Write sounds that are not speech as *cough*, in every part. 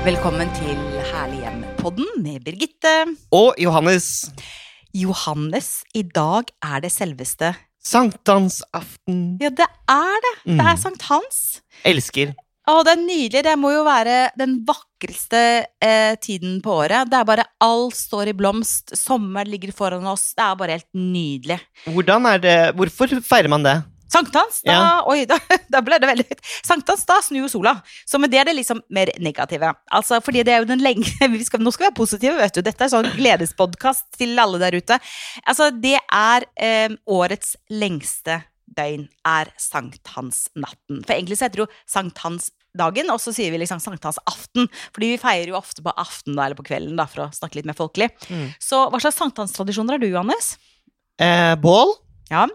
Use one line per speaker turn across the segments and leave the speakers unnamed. Velkommen til Herlig hjem-podden med Birgitte.
Og Johannes.
Johannes, i dag er det selveste
Sankthansaften.
Ja, det er det! Det er
Mm.
sankthans.
Elsker.
Å, det er nydelig. Det må jo være den vakreste eh, tiden på året. Det er bare alt står i blomst. Sommer ligger foran oss. Det er bare helt nydelig.
Hvordan er det Hvorfor feirer man det?
Sankthans, da
Ja.
Oi, da, *laughs* da ble det veldig høyt. Sankthans, da snur jo sola. Så med det er det liksom mer negative. Altså, fordi det er jo den lenge *laughs* vi skal, Nå skal vi være positive, vet du. Dette er sånn gledespodkast til alle der ute. Altså, det er eh, årets lengste døgn er sankthansnatten. For egentlig så heter det jo sankthansdagen, og så sier vi liksom sankthansaften. Fordi vi feirer jo ofte på aften da, eller på kvelden, da, for å snakke litt mer folkelig.
Mm.
Så hva slags sankthanstradisjoner har du, Johannes?
Eh, bål.
Ja.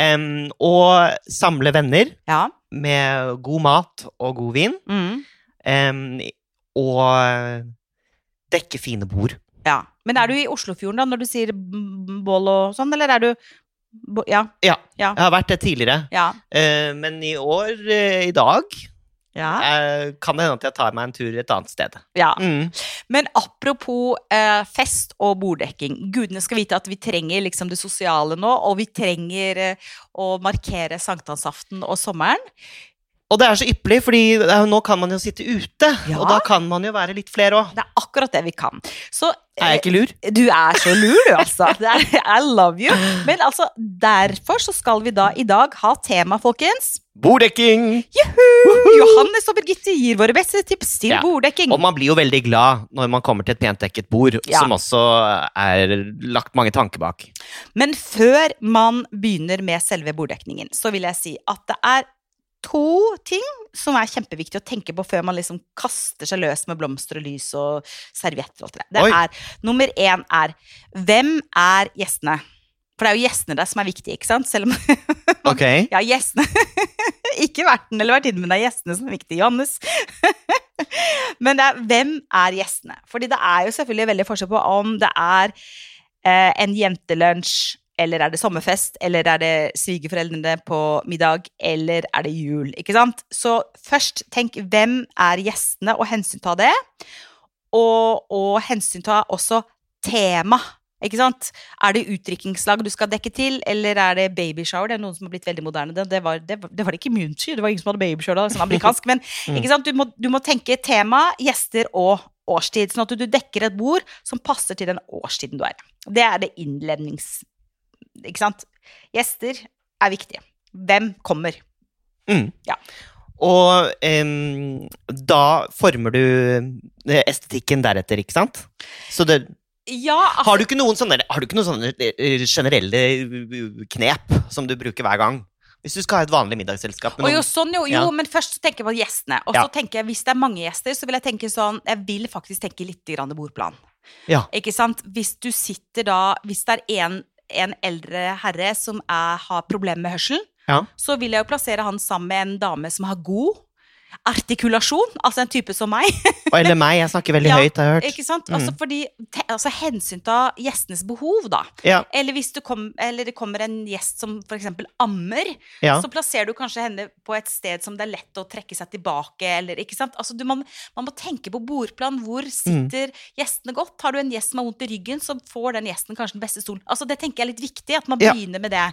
Em, og samle venner
Ja.
med god mat og god vin.
Mm.
Em, og dekke fine bord.
Ja. Men er du i Oslofjorden da, når du sier b- bål og sånn, eller er du bo- Ja.
Ja,
Ja.
jeg har vært det tidligere.
Ja.
Eh, men i år, eh, i dag,
Ja.
eh, kan det hende at jeg tar meg en tur et annet sted.
ja.
Mm.
Men apropos eh, fest og borddekking. Gudene skal vite at vi trenger liksom det sosiale nå, og vi trenger eh, å markere sankthansaften og sommeren.
Og det er så ypperlig, fordi det er jo- nå kan man jo sitte ute.
Ja.
Og da kan man jo være litt flere òg.
Det er akkurat det vi kan. Så eh,
Er jeg ikke lur?
Du er så lur, du, altså.
*laughs*
Det er, I love you. Men altså, derfor så skal vi da i dag ha tema, folkens.
Borddekking!
Johannes og Birgitte gir våre beste tips til
Ja.
borddekking.
Og man blir jo veldig glad når man kommer til et pent dekket bord,
Ja.
som også er lagt mange
*laughs*
tanker bak.
Men før man begynner med selve borddekningen, så vil jeg si at det er to ting som er kjempeviktig å tenke på før man liksom kaster seg løs med blomster og lys og servietter og alt det der. Det
Oi.
er, nummer én er hvem er gjestene? For det er jo gjestene der som er viktige, ikke sant? Selv om
Ok.
ja, gjestene *laughs* Ikke verten eller vertinnen, men det er gjestene som er viktige. Johannes. *laughs* men det er, hvem er gjestene? Fordi det er jo selvfølgelig veldig forskjell på om det er eh, en jentelunsj, eller er det sommerfest, eller er det svigerforeldrene på middag, eller er det jul? Ikke sant? Så først tenk hvem er gjestene, og hensynta det. Og, og hensynta også tema. Ikke sant? Er det utdrikkingslag du skal dekke til, eller er det babyshower? Det er noen som har blitt veldig moderne. Det, det, var, det, var- det var det ikke i min tid, det var ingen som hadde babyshower da, sånn amerikansk. Men
Mm.
ikke sant? Du, må, du må tenke tema, gjester og årstid, sånn at du dekker et bord som passer til den årstiden du er i. Det er det innlednings... Ikke sant? Gjester er viktig. Hvem kommer?
Mm.
Ja.
Og em, da former du eh, estetikken deretter, ikke sant? Så det,
Ja,
har, du ikke noen sånne, har du ikke noen sånne eh, generelle eh, knep som du bruker hver gang? Hvis du skal ha et vanlig middagsselskap. med
Og jo,
noen-
sånn, jo, jo
Ja.
men først så tenker jeg på gjestene. Og
Ja.
så tenker jeg, hvis det er mange gjester, så vil jeg tenke sånn Jeg vil faktisk tenke litt grann bordplan.
Ja.
Ikke sant? Hvis du sitter da Hvis det er en, en eldre herre som er, har problemer med hørselen,
Ja.
så vil jeg jo plassere han sammen med en dame som har god artikulasjon. Altså en type som meg.
Og Eller meg, jeg snakker veldig
Ja,
høyt, har jeg hørt.
*laughs* Ikke sant?
Mm.
Altså, fordi, te, altså hensynta gjestenes behov, da.
Ja,
Eller hvis du kom, eller det kommer en gjest som f.eks. ammer,
ja.
så plasserer du kanskje henne på et sted som det er lett å trekke seg tilbake, eller ikke sant. Altså, du, man, man må tenke på bordplan. Hvor sitter gjestene godt? Har du en gjest som har vondt i ryggen, så får den gjesten kanskje den beste stolen. Altså, det tenker jeg er litt viktig, at man
Ja.
begynner med det.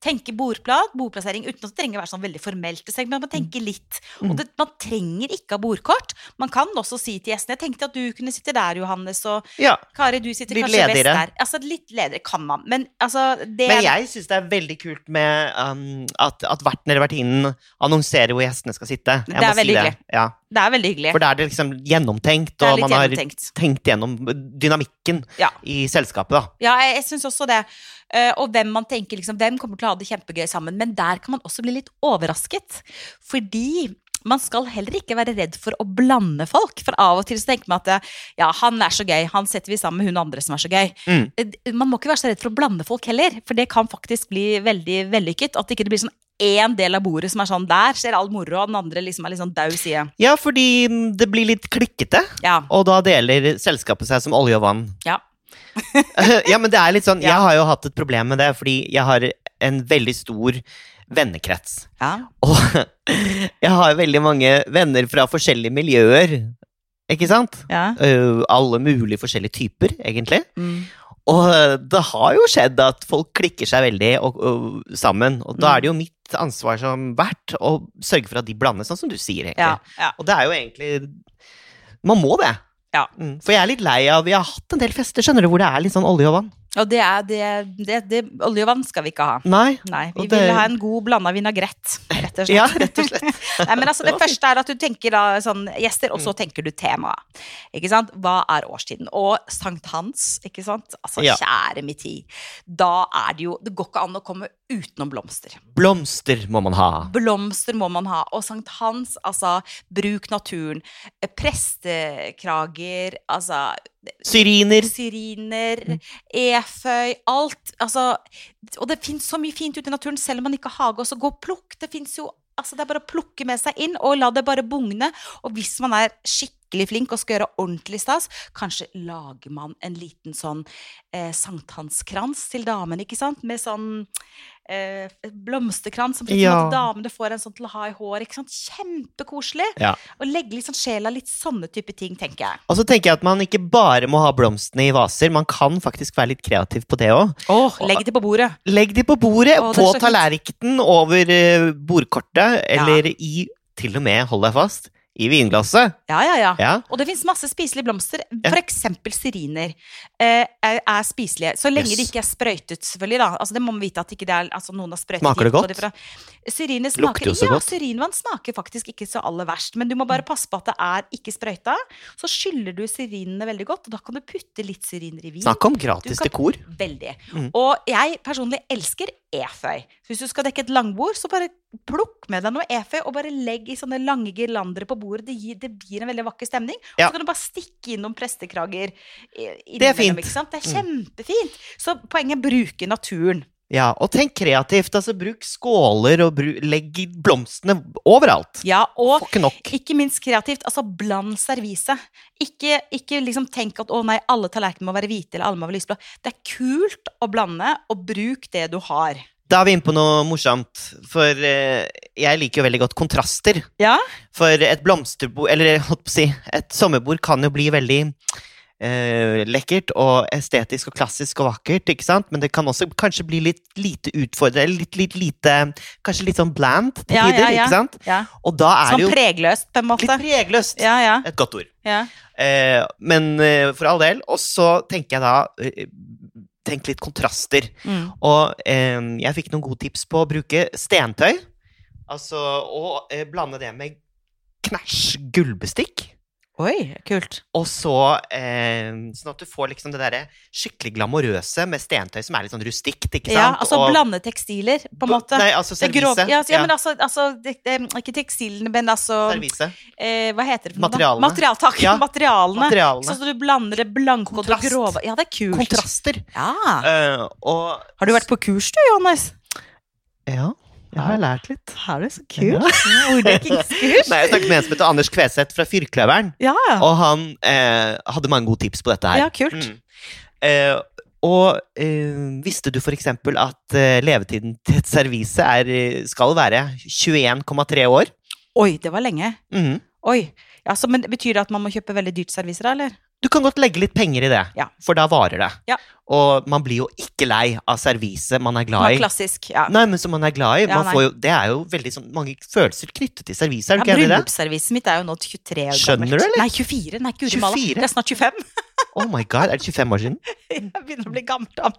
Tenke bordplan, bordplassering, uten at det trenger å være sånn veldig formelt. Det trenger- Men man tenker litt.
Mm.
Og det, man trenger ikke ha bordkort. Man kan også si til gjestene Jeg tenkte at du kunne sitte der, Johannes, og
ja.
Kari, du sitter
Litt
kanskje
ledigere.
best der. Altså, litt ledere kan man, men altså det
Men
er-
jeg syns det er veldig kult med um, at, at verten eller vertinnen annonserer hvor gjestene skal sitte. Jeg
Det er veldig
Ja.
Det er veldig hyggelig.
For da er det liksom gjennomtenkt,
Det er
og
litt
man har
gjennomtenkt.
tenkt gjennom dynamikken
Ja.
i selskapet, da.
Ja, jeg, jeg syns også det. Eh, og hvem man tenker liksom, hvem kommer til å ha det kjempegøy sammen. Men der kan man også bli litt overrasket. Fordi man skal heller ikke være redd for å blande folk. For av og til så tenker man at ja, han er så gøy, han setter vi sammen med hun andre som er så gøy.
Mm.
Eh, Man må ikke være så redd for å blande folk heller, for det kan faktisk bli veldig vellykket. At ikke det blir sånn én del av bordet som er sånn der skjer all moro, og den andre liksom er litt sånn daud side.
Ja, fordi mm, det blir litt klikkete,
Ja.
og da deler selskapet seg som olje og vann. *laughs*
Ja.
ja, men det er litt sånn Jeg
Ja.
har jo hatt et problem med det, fordi jeg har en veldig stor vennekrets.
ja.
*laughs* Og jeg har veldig mange venner fra forskjellige miljøer. Ikke sant?
Ja.
Eh, alle mulige forskjellige typer, egentlig.
Mm.
Og eh, det har jo skjedd at folk klikker seg veldig og, og, sammen. Og
Mm.
da er det jo mitt ansvar som vert å sørge for at de blandes, sånn som du sier. egentlig.
Ja, ja.
Og det er jo egentlig Man må det.
Ja.
Mm. For jeg er litt lei av Vi har hatt en del fester skjønner du, hvor det er litt sånn olje og vann.
Og det er det, det, det Olje og vann skal vi ikke ha.
Nei.
Nei, vi
Og det-
vil ha en god blanda vinagrett,
*laughs*
rett og slett.
Ja, rett og slett.
*laughs* Nei, men altså, det
Det var Mm.
første er at du tenker da, sånn, gjester, og så tenker du temaet. Ikke sant? Hva er årstiden? Og sankthans, ikke sant? Altså,
Ja.
kjære min tid. Da er det jo Det går ikke an å komme utenom blomster.
Blomster må man ha.
Blomster må man ha. Og sankthans, altså, bruk naturen. Eh, Prestekrager, altså
Syriner.
Syriner, eføy, alt. Altså, og det fins så mye fint ute i naturen, selv om man ikke har hage. Også gå og plukk. Det fins jo Altså, det er bare å plukke med seg inn, og la det bare bugne. Og hvis man er skikkelig flink og skal gjøre ordentlig stas, kanskje lager man en liten sånn eh, sankthanskrans til damene, ikke sant? Med sånn eh, blomsterkrans som ja.
Ja.
at damene får en sånn til å ha i håret, ikke sant? Kjempekoselig.
Ja.
Og legge litt sånn sjela, litt sånne type ting, tenker jeg.
Og så tenker jeg at man ikke bare må ha blomstene i vaser, man kan faktisk være litt kreativ på det òg.
Legg det på bordet.
Legg de på bordet,
Å, det er
på
så fint.
tallerkenen, over eh, bordkortet, eller i Til og med, hold deg fast, i vinglasset.
Ja, ja, ja.
Ja.
Og det fins masse spiselige blomster,
Ja.
for eksempel syriner. eh, Er, er spiselige. Så lenge
Yes.
de ikke er sprøytet, selvfølgelig. da. Altså, det må man vite at ikke det er, altså, noen har sprøytet
Smaker det
gift på
godt?
fra- Syriner smaker,
Lukter jo så
ja,
godt.
Syrinvann smaker faktisk ikke så aller verst, men du må bare passe på at det er ikke sprøyta. Så skyller du syrinene veldig godt, og da kan du putte litt syriner i vin.
Snakk om
Du
gratis
kan-
dekor.
Veldig.
Mm.
Og jeg personlig elsker eføy. Så hvis du skal dekke et langbord, så bare plukk med deg noe eføy, og bare legg i sånne lange girlander på bordet. Det gir, det gir en veldig vakker stemning.
Ja.
Og så kan du bare stikke innom prestekrager. eh,
Det er
innimellom,
fint. Mm.
Ikke sant? Det er kjempefint. Så poenget er bruke naturen.
Ja, og tenk kreativt. altså Bruk skåler, og bru- legg blomstene overalt.
Ja, og
Får ikke nok.
ikke minst kreativt. Altså, bland serviset. Ikke, ikke liksom tenk at å nei, alle tallerkener må være hvite, eller alle må være lysblå. Det er kult å blande, og bruk det du har.
Da er vi inne på noe morsomt, for eh, jeg liker jo veldig godt kontraster.
Ja?
For et blomsterbord, eller jeg holdt på å si, et sommerbord kan jo bli veldig eh, lekkert og estetisk og klassisk og vakkert, ikke sant? Men det kan også kanskje bli litt lite utfordrende, eller litt, litt lite Kanskje litt sånn bland til
Ja, ja,
tider,
ja.
ikke sant?
ja.
Og da er
Sånn
det jo
pregløst, på en måte.
litt pregløst.
Ja, ja,
Et godt ord.
ja.
Eh, men eh, for all del. Og så tenker jeg da eh, Tenk litt kontraster.
Mm.
Og eh, jeg fikk noen gode tips på å bruke stentøy. Altså, og eh, blande det med knæsj gullbestikk.
Oi, kult.
Og så eh, Sånn at du får liksom det derre skikkelig glamorøse med stentøy som er litt sånn rustikt, ikke sant?
Ja, altså
Og-
blande tekstiler, på en måte.
Nei, altså
Det grov-
servise.
ja, altså, ja, men altså, altså det, det, ikke tekstilene, men altså
servise.
eh, Hva heter det? for noe da?
Materialene.
Material, takk,
Ja,
materialene.
Materialene.
Sånn at du blander det blanke og det
Kontrast.
grove. Ja, det er kult.
Kontraster.
Ja.
Eh, og
Har du vært på kurs du, Johannes?
Ja, jeg har lært litt.
Har du så
kult.
Ordleggingskurs.
*laughs* Nei, jeg snakket med en som heter Anders Kveseth fra Firkløveren.
Ja.
Og han eh, hadde mange gode tips på dette her.
ja, kult.
Mm. Eh, og eh, visste du f.eks. at eh, levetiden til et servise er, eh, skal være 21,3 år?
Oi, det var lenge.
Mhm.
Oi. Ja, så, men Betyr det at man må kjøpe veldig dyrt servise, da, eller?
Du kan godt legge litt penger i det,
Ja.
for da varer det.
Ja.
Og man blir jo ikke lei av serviset man er glad i.
Klassisk. Ja.
Nei, men som man er glad i.
Ja,
man
nei.
får jo, det er jo veldig sånn, mange følelser knyttet til serviset. Er
Ja,
du ikke enig i det?
Bryllupsservisen mitt er jo nå 23 år
Skjønner
gammelt.
du, eller?
Nei, 24. Nei, guri malla.
24?
Det er snart 25.
Oh my god, Er det 25 år siden?
*laughs* Jeg begynner å bli gammel. da.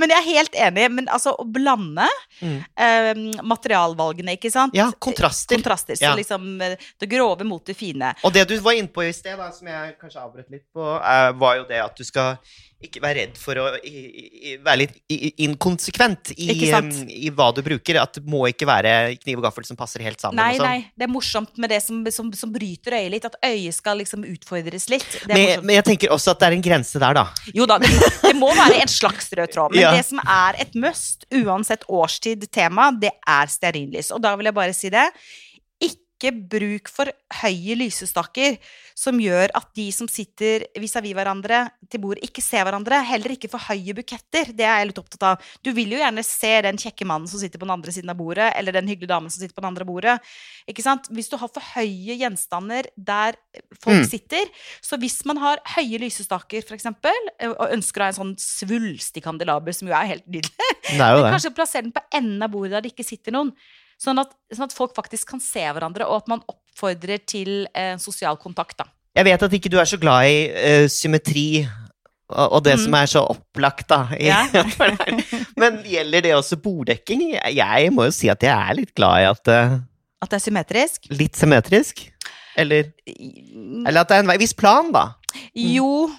Men jeg er helt enig. Men altså, å blande
Mm.
eh, materialvalgene, ikke sant?
Ja, kontraster.
Kontraster. Så
Ja.
liksom eh, det grove mot det fine.
Og det du var inne på i sted, da, som jeg kanskje avbrøt litt på, eh, var jo det at du skal ikke være redd for å i, i, i- være litt i, i, inkonsekvent i,
Ikke sant?
em, i hva du bruker. At det må ikke være kniv og gaffel som passer helt sammen.
Nei,
og sånn.
nei. Det er morsomt med det som, som, som bryter øyet litt. At øyet skal liksom utfordres litt. Det er
Men,
morsomt.
men jeg tenker også at det er en grense der, da.
Jo da, det, det må være en slags rød tråd. Men
Ja.
det som er et must, uansett årstid, tema, det er stearinlys. Og da vil jeg bare si det. Ikke ikke bruk for høye lysestaker som gjør at de som sitter vis-à-vis hverandre til bordet, ikke ser hverandre. Heller ikke for høye buketter. Det er jeg litt opptatt av. Du vil jo gjerne se den kjekke mannen som sitter på den andre siden av bordet, eller den hyggelige damen som sitter på den andre bordet. Ikke sant? Hvis du har for høye gjenstander der folk
Mm.
sitter, så hvis man har høye lysestaker, for eksempel, og ønsker å ha en sånn svulstig kandelaber, som jo er helt nydelig
Det er jo det.
Kanskje plassere den på enden av bordet der det ikke sitter noen. Sånn at, sånn at folk faktisk kan se hverandre, og at man oppfordrer til eh, sosial kontakt. Da.
Jeg vet at ikke du er så glad i eh, symmetri og, og det
Mm.
som er så opplagt, da. i- *laughs*
Ja.
Men gjelder det også borddekking? Jeg, jeg må jo si at jeg er litt glad i at det er
At det er symmetrisk.
litt symmetrisk. Eller, eller at det er en vei- viss plan, da.
Jo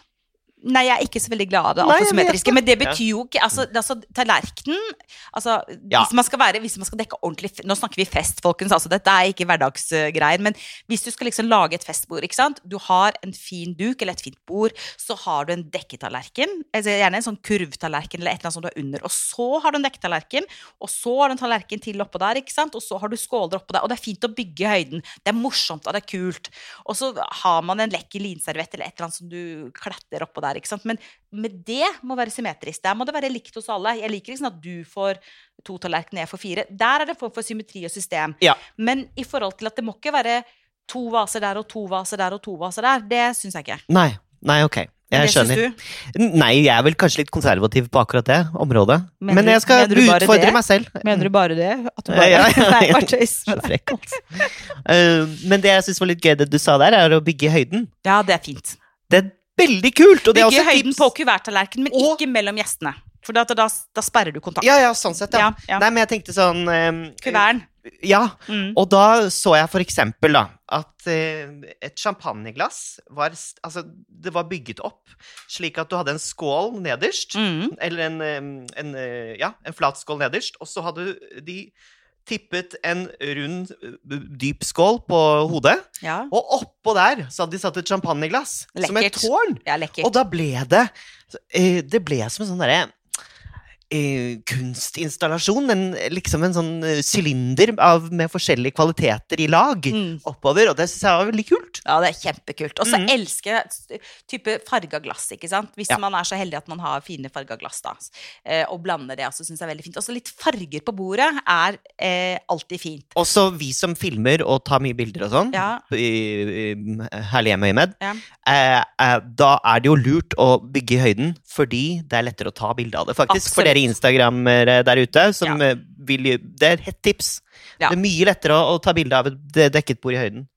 Nei, jeg er ikke så veldig glad av det
Mm. Nei,
altfor
jeg vet
symmetriske.
det.
Men det betyr jo ikke Altså, det- altså tallerkenen altså,
Ja.
hvis, man skal være, hvis man skal dekke ordentlig f- Nå snakker vi fest, folkens. Altså, dette er ikke hverdagsgreier. Men hvis du skal liksom lage et festbord, ikke sant. Du har en fin duk eller et fint bord. Så har du en dekketallerken. Altså, gjerne en sånn kurvtallerken eller et eller annet som du har under. Og så har du en dekketallerken. Og så har du en tallerken til oppå der, ikke sant? og så har du skåler oppå der. Og det er fint å bygge i høyden. Det er morsomt, og det er kult. Og så har man en lekker linserviett eller et eller annet som du kletter oppå der. ikke sant? Men med det må være symmetrisk. Der må det være likt hos alle. Jeg liker ikke sånn at du får to tallerkener, jeg får fire. Der er det en form for symmetri og system.
Ja.
Men i forhold til at det må ikke være to vaser der og to vaser der og to vaser der, det syns jeg ikke.
Nei. Nei, ok. Jeg
det syns
skjønner.
du?
Nei, jeg er vel kanskje litt konservativ på akkurat det området.
Mener
Men
du-
jeg skal
mener du bare
utfordre
det?
meg selv.
Mener du bare det? At du
Eh,
bare...
ja, ja,
*laughs* Nei,
ja.
bare tøys med
Så
deg.
frekk, altså. Eh, men det jeg syns var litt gøy, det du sa der, er å bygge i høyden.
Ja, det er fint.
Det er veldig kult! Og det er
Bygge
også et
høyden
tips.
på kuverttallerkenen, men
Og-
ikke mellom gjestene. For da, da, da sperrer du kontakt.
Ja, ja, sånn sett, ja.
Ja, ja.
Nei, men jeg tenkte sånn eh,
Kuverten.
Ja,
Mm.
og da så jeg for eksempel da, at eh, et champagneglass var, s- altså, det var bygget opp slik at du hadde en skål nederst,
Mm.
eller en, eh, en, eh, ja, en flat skål nederst, og så hadde de tippet en rund, eh, dyp skål på hodet,
Ja.
og oppå der så hadde de satt et champagneglass, som et
Lekkert.
tårn.
Det er lekkert.
Og da ble det eh, Det ble som en sånn derre eh, kunstinstallasjon. En, liksom en sånn eh, sylinder av- med forskjellige kvaliteter i lag
Mm.
oppover, og det syns jeg var veldig kult.
Ja, det er kjempekult. Og så
Mm.
elsker jeg s- type farga glass, ikke sant. Hvis
Ja.
man er så heldig at man har fine farga glass, da. Eh, og blander det, altså, syns jeg er veldig fint. Også litt farger på bordet er eh, alltid fint.
Også vi som filmer og tar mye bilder og sånn,
Ja.
i, i herlig hjemme Øyemed,
Ja.
eh, eh, da er det jo lurt å bygge i høyden, fordi det er lettere å ta bilde av det, faktisk. For
Absolutt.
dere instagrammere der ute, som
Ja.
eh, vil Det er et tips.
Ja.
Det er mye lettere å, å ta bilde av et de- dekket bord i høyden.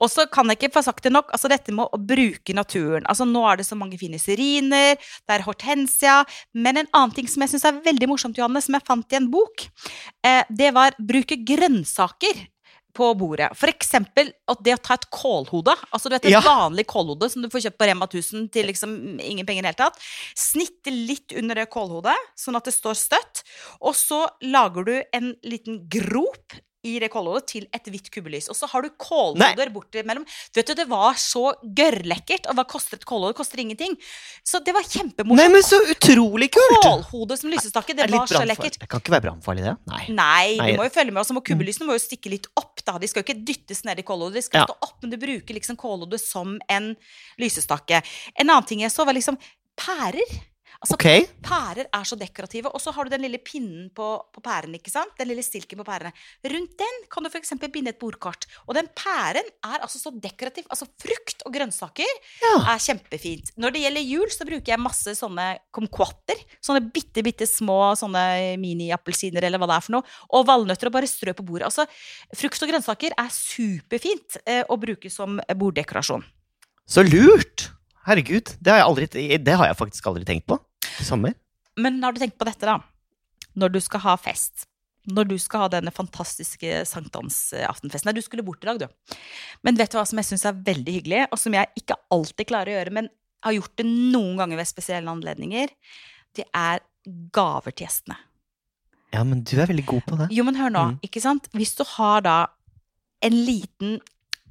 Og så kan jeg ikke få sagt det nok, altså dette med å bruke naturen. Altså nå er det så mange fine seriner, det er hortensia. Men en annen ting som jeg syns er veldig morsomt, Johanne, som jeg fant i en bok, eh, det var bruke grønnsaker. På bordet. For eksempel at det å ta et kålhode, altså du vet et
Ja.
vanlig kålhode som du får kjøpt på Rema 1000 til liksom ingen penger i det hele tatt, snitte litt under det kålhodet, sånn at det står støtt, og så lager du en liten grop i det kålhodet til et hvitt kubbelys. Og så har du kålhoder bortimellom. Vet du, det var så gørrlekkert. Og hva koster et kålhode? Det Koster ingenting. Så det var
Nei,
kjempemorsomt.
men så utrolig kult!
Kålhode som lysestake, det
Er litt
var så
brannfarlig.
lekkert. Mm,
Det kan ikke være brannfarlig, det. Nei.
Nei,
Nei. Mm.
du må jo følge med. Og så må kubbelysene må jo stikke litt opp, da. De skal jo ikke dyttes ned i kålhodet. De skal
Ja.
stå opp, men du bruker liksom kålhodet som en lysestake. En annen ting jeg så, var liksom pærer. Altså,
Ok.
Pærer er så dekorative. Og så har du den lille pinnen på, på pæren, ikke sant? Den lille stilken på pærene. Rundt den kan du f.eks. binde et bordkart. Og den pæren er altså så dekorativ. Altså frukt og grønnsaker
Ja.
er kjempefint. Når det gjelder jul, så bruker jeg masse sånne kumquatter. Sånne bitte, bitte små sånne miniappelsiner eller hva det er for noe. Og valnøtter og bare strø på bordet. Altså, frukt og grønnsaker er superfint eh, å bruke som borddekorasjon.
Så lurt! Herregud, det har jeg, aldri, det har jeg faktisk aldri tenkt på. I sommer.
Men har du tenkt på dette, da? Når du skal ha fest. Når du skal ha denne fantastiske sankthansaftenfesten. Nei, du skulle bort i dag, du. Men vet du hva som jeg syns er veldig hyggelig, og som jeg ikke alltid klarer å gjøre, men har gjort det noen ganger ved spesielle anledninger? Det er gaver til gjestene.
Ja, men du er veldig god på det.
Jo, men hør nå,
Mm.
ikke sant? Hvis du har da en liten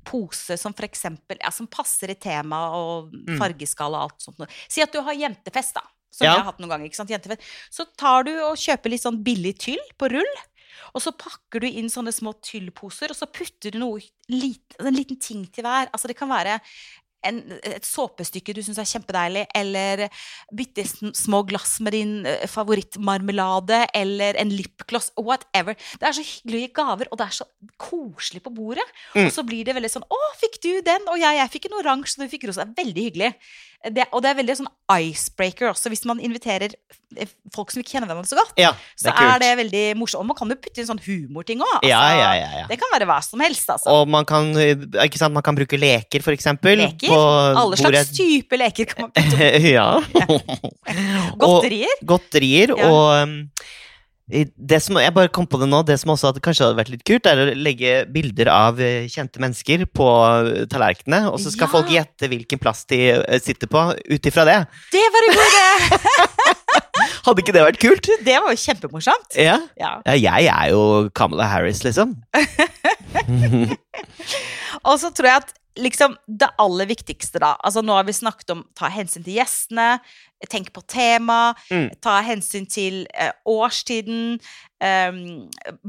pose som for eksempel, ja, som passer i tema og
Mm.
fargeskala og alt sånt. noe. Si at du har jentefest da, som
Ja.
jeg har hatt noen ganger, ikke sant? Jentefest. Så tar du og kjøper litt sånn billig tyll på rull, Og så pakker du inn sånne små tyllposer, og så putter du noe, lit- altså en liten ting til hver. Altså det kan være en, et såpestykke du syns er kjempedeilig, eller bitte sn- små glass med din eh, favorittmarmelade, eller en lipgloss, whatever. Det er så hyggelig å gi gaver, og det er så koselig på bordet.
Mm.
Og så blir det veldig sånn 'Å, fikk du den?' Og jeg, jeg fikk en oransje, og du fikk rosa. Det er Veldig hyggelig. Det, og det er veldig sånn icebreaker også, hvis man inviterer eh, folk som ikke kjenner hverandre så godt.
Ja,
Så
det
er,
er kult.
det veldig morsomt. Og man kan jo putte inn sånn humorting òg.
Ja, ja, ja, ja.
Altså, Det kan være hva som helst, altså.
Og man kan, eh, ikke sant, man kan bruke leker, for eksempel.
Leker?
På
Alle slags
bordet.
type leker kan man
*laughs*
putte
ja. og
Godterier.
godterier.
Ja.
Og um, i- det som, jeg bare kom på det nå, det som også hadde, kanskje hadde vært litt kult, er å legge bilder av eh, kjente mennesker på eh, tallerkenene, og så skal
Ja.
folk gjette hvilken plass de eh, sitter på, ut ifra det.
Det var en god idé!
Hadde ikke det vært kult?
Det var jo kjempemorsomt.
Ja.
Ja.
*laughs* Ja, jeg er jo Kamala Harris, liksom.
Og så tror jeg at liksom det aller viktigste, da Altså nå har vi snakket om ta hensyn til gjestene, tenk på tema,
Mm.
ta hensyn til eh, årstiden, eh,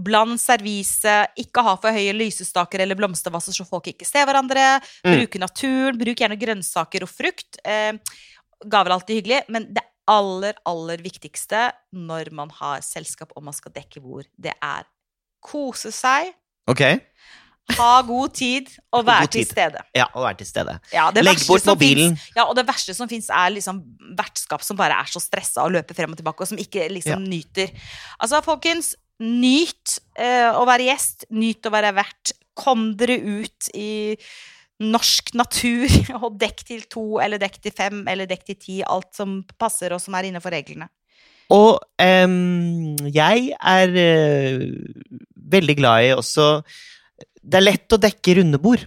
bland serviset, ikke ha for høye lysestaker eller blomstervasser så folk ikke ser hverandre,
Mm.
bruke naturen, bruk gjerne grønnsaker og frukt. Eh, gaver er alltid hyggelig, men det aller, aller viktigste når man har selskap og man skal dekke bord, det er kose seg,
Ok.
ha god tid og være
god
til
tid.
stede.
Ja, og være til stede.
Ja, det
Legg
verste
bort
som
mobilen.
Finnes, ja, og det verste som fins, er liksom vertskap som bare er så stressa og løper frem og tilbake, og som ikke liksom nyter. Altså, folkens, nyt eh, å være gjest. Nyt å være vert. Kom dere ut i norsk natur *laughs* og dekk til to, eller dekk til fem, eller dekk til ti. Alt som passer, og som er innenfor reglene.
Og em, jeg er eh, veldig glad i også Det er lett å dekke runde bord.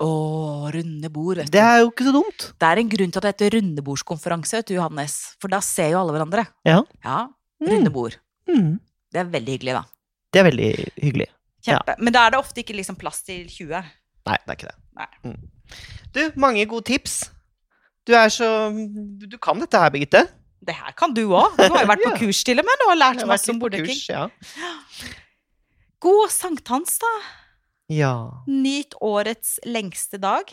Å, runde bord, vet du.
Det er jo ikke så dumt.
Det er en grunn til at det heter rundebordskonferanse, vet du, Johannes. For da ser jo alle hverandre.
Ja.
Ja,
Mm.
runde bord.
Mm.
Det er veldig hyggelig, da.
Det er veldig hyggelig.
Kjempe. Men da er det ofte ikke liksom plass til 20.
Nei, det er ikke det.
Nei.
Mm. Du, mange gode tips. Du er så Du kan dette her, Birgitte.
Det her kan du òg. Du har jo vært på
*laughs* Ja.
kurs til og med nå og lært
Jeg har vært
masse om
litt på
borddekking.
kurs, Ja.
God sankthans, da.
ja.
Nyt årets lengste dag.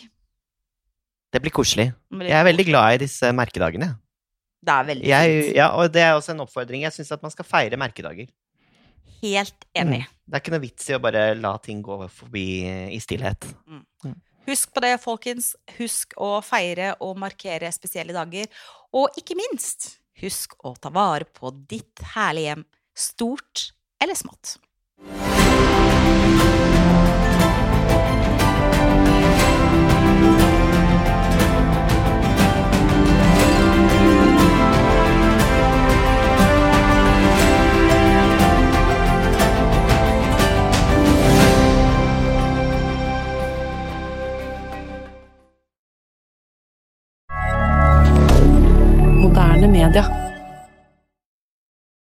Det blir koselig. Jeg er veldig glad i disse merkedagene.
Det er veldig
Jeg,
fint.
ja, og det er også en oppfordring. Jeg syns at man skal feire merkedager.
Helt
Mm.
enig.
Det er ikke noe vits i å bare la ting gå forbi i stillhet.
Husk på det, folkens. Husk å feire og markere spesielle dager. Og ikke minst, husk å ta vare på ditt herlige hjem. Stort eller smått.
Moderne media.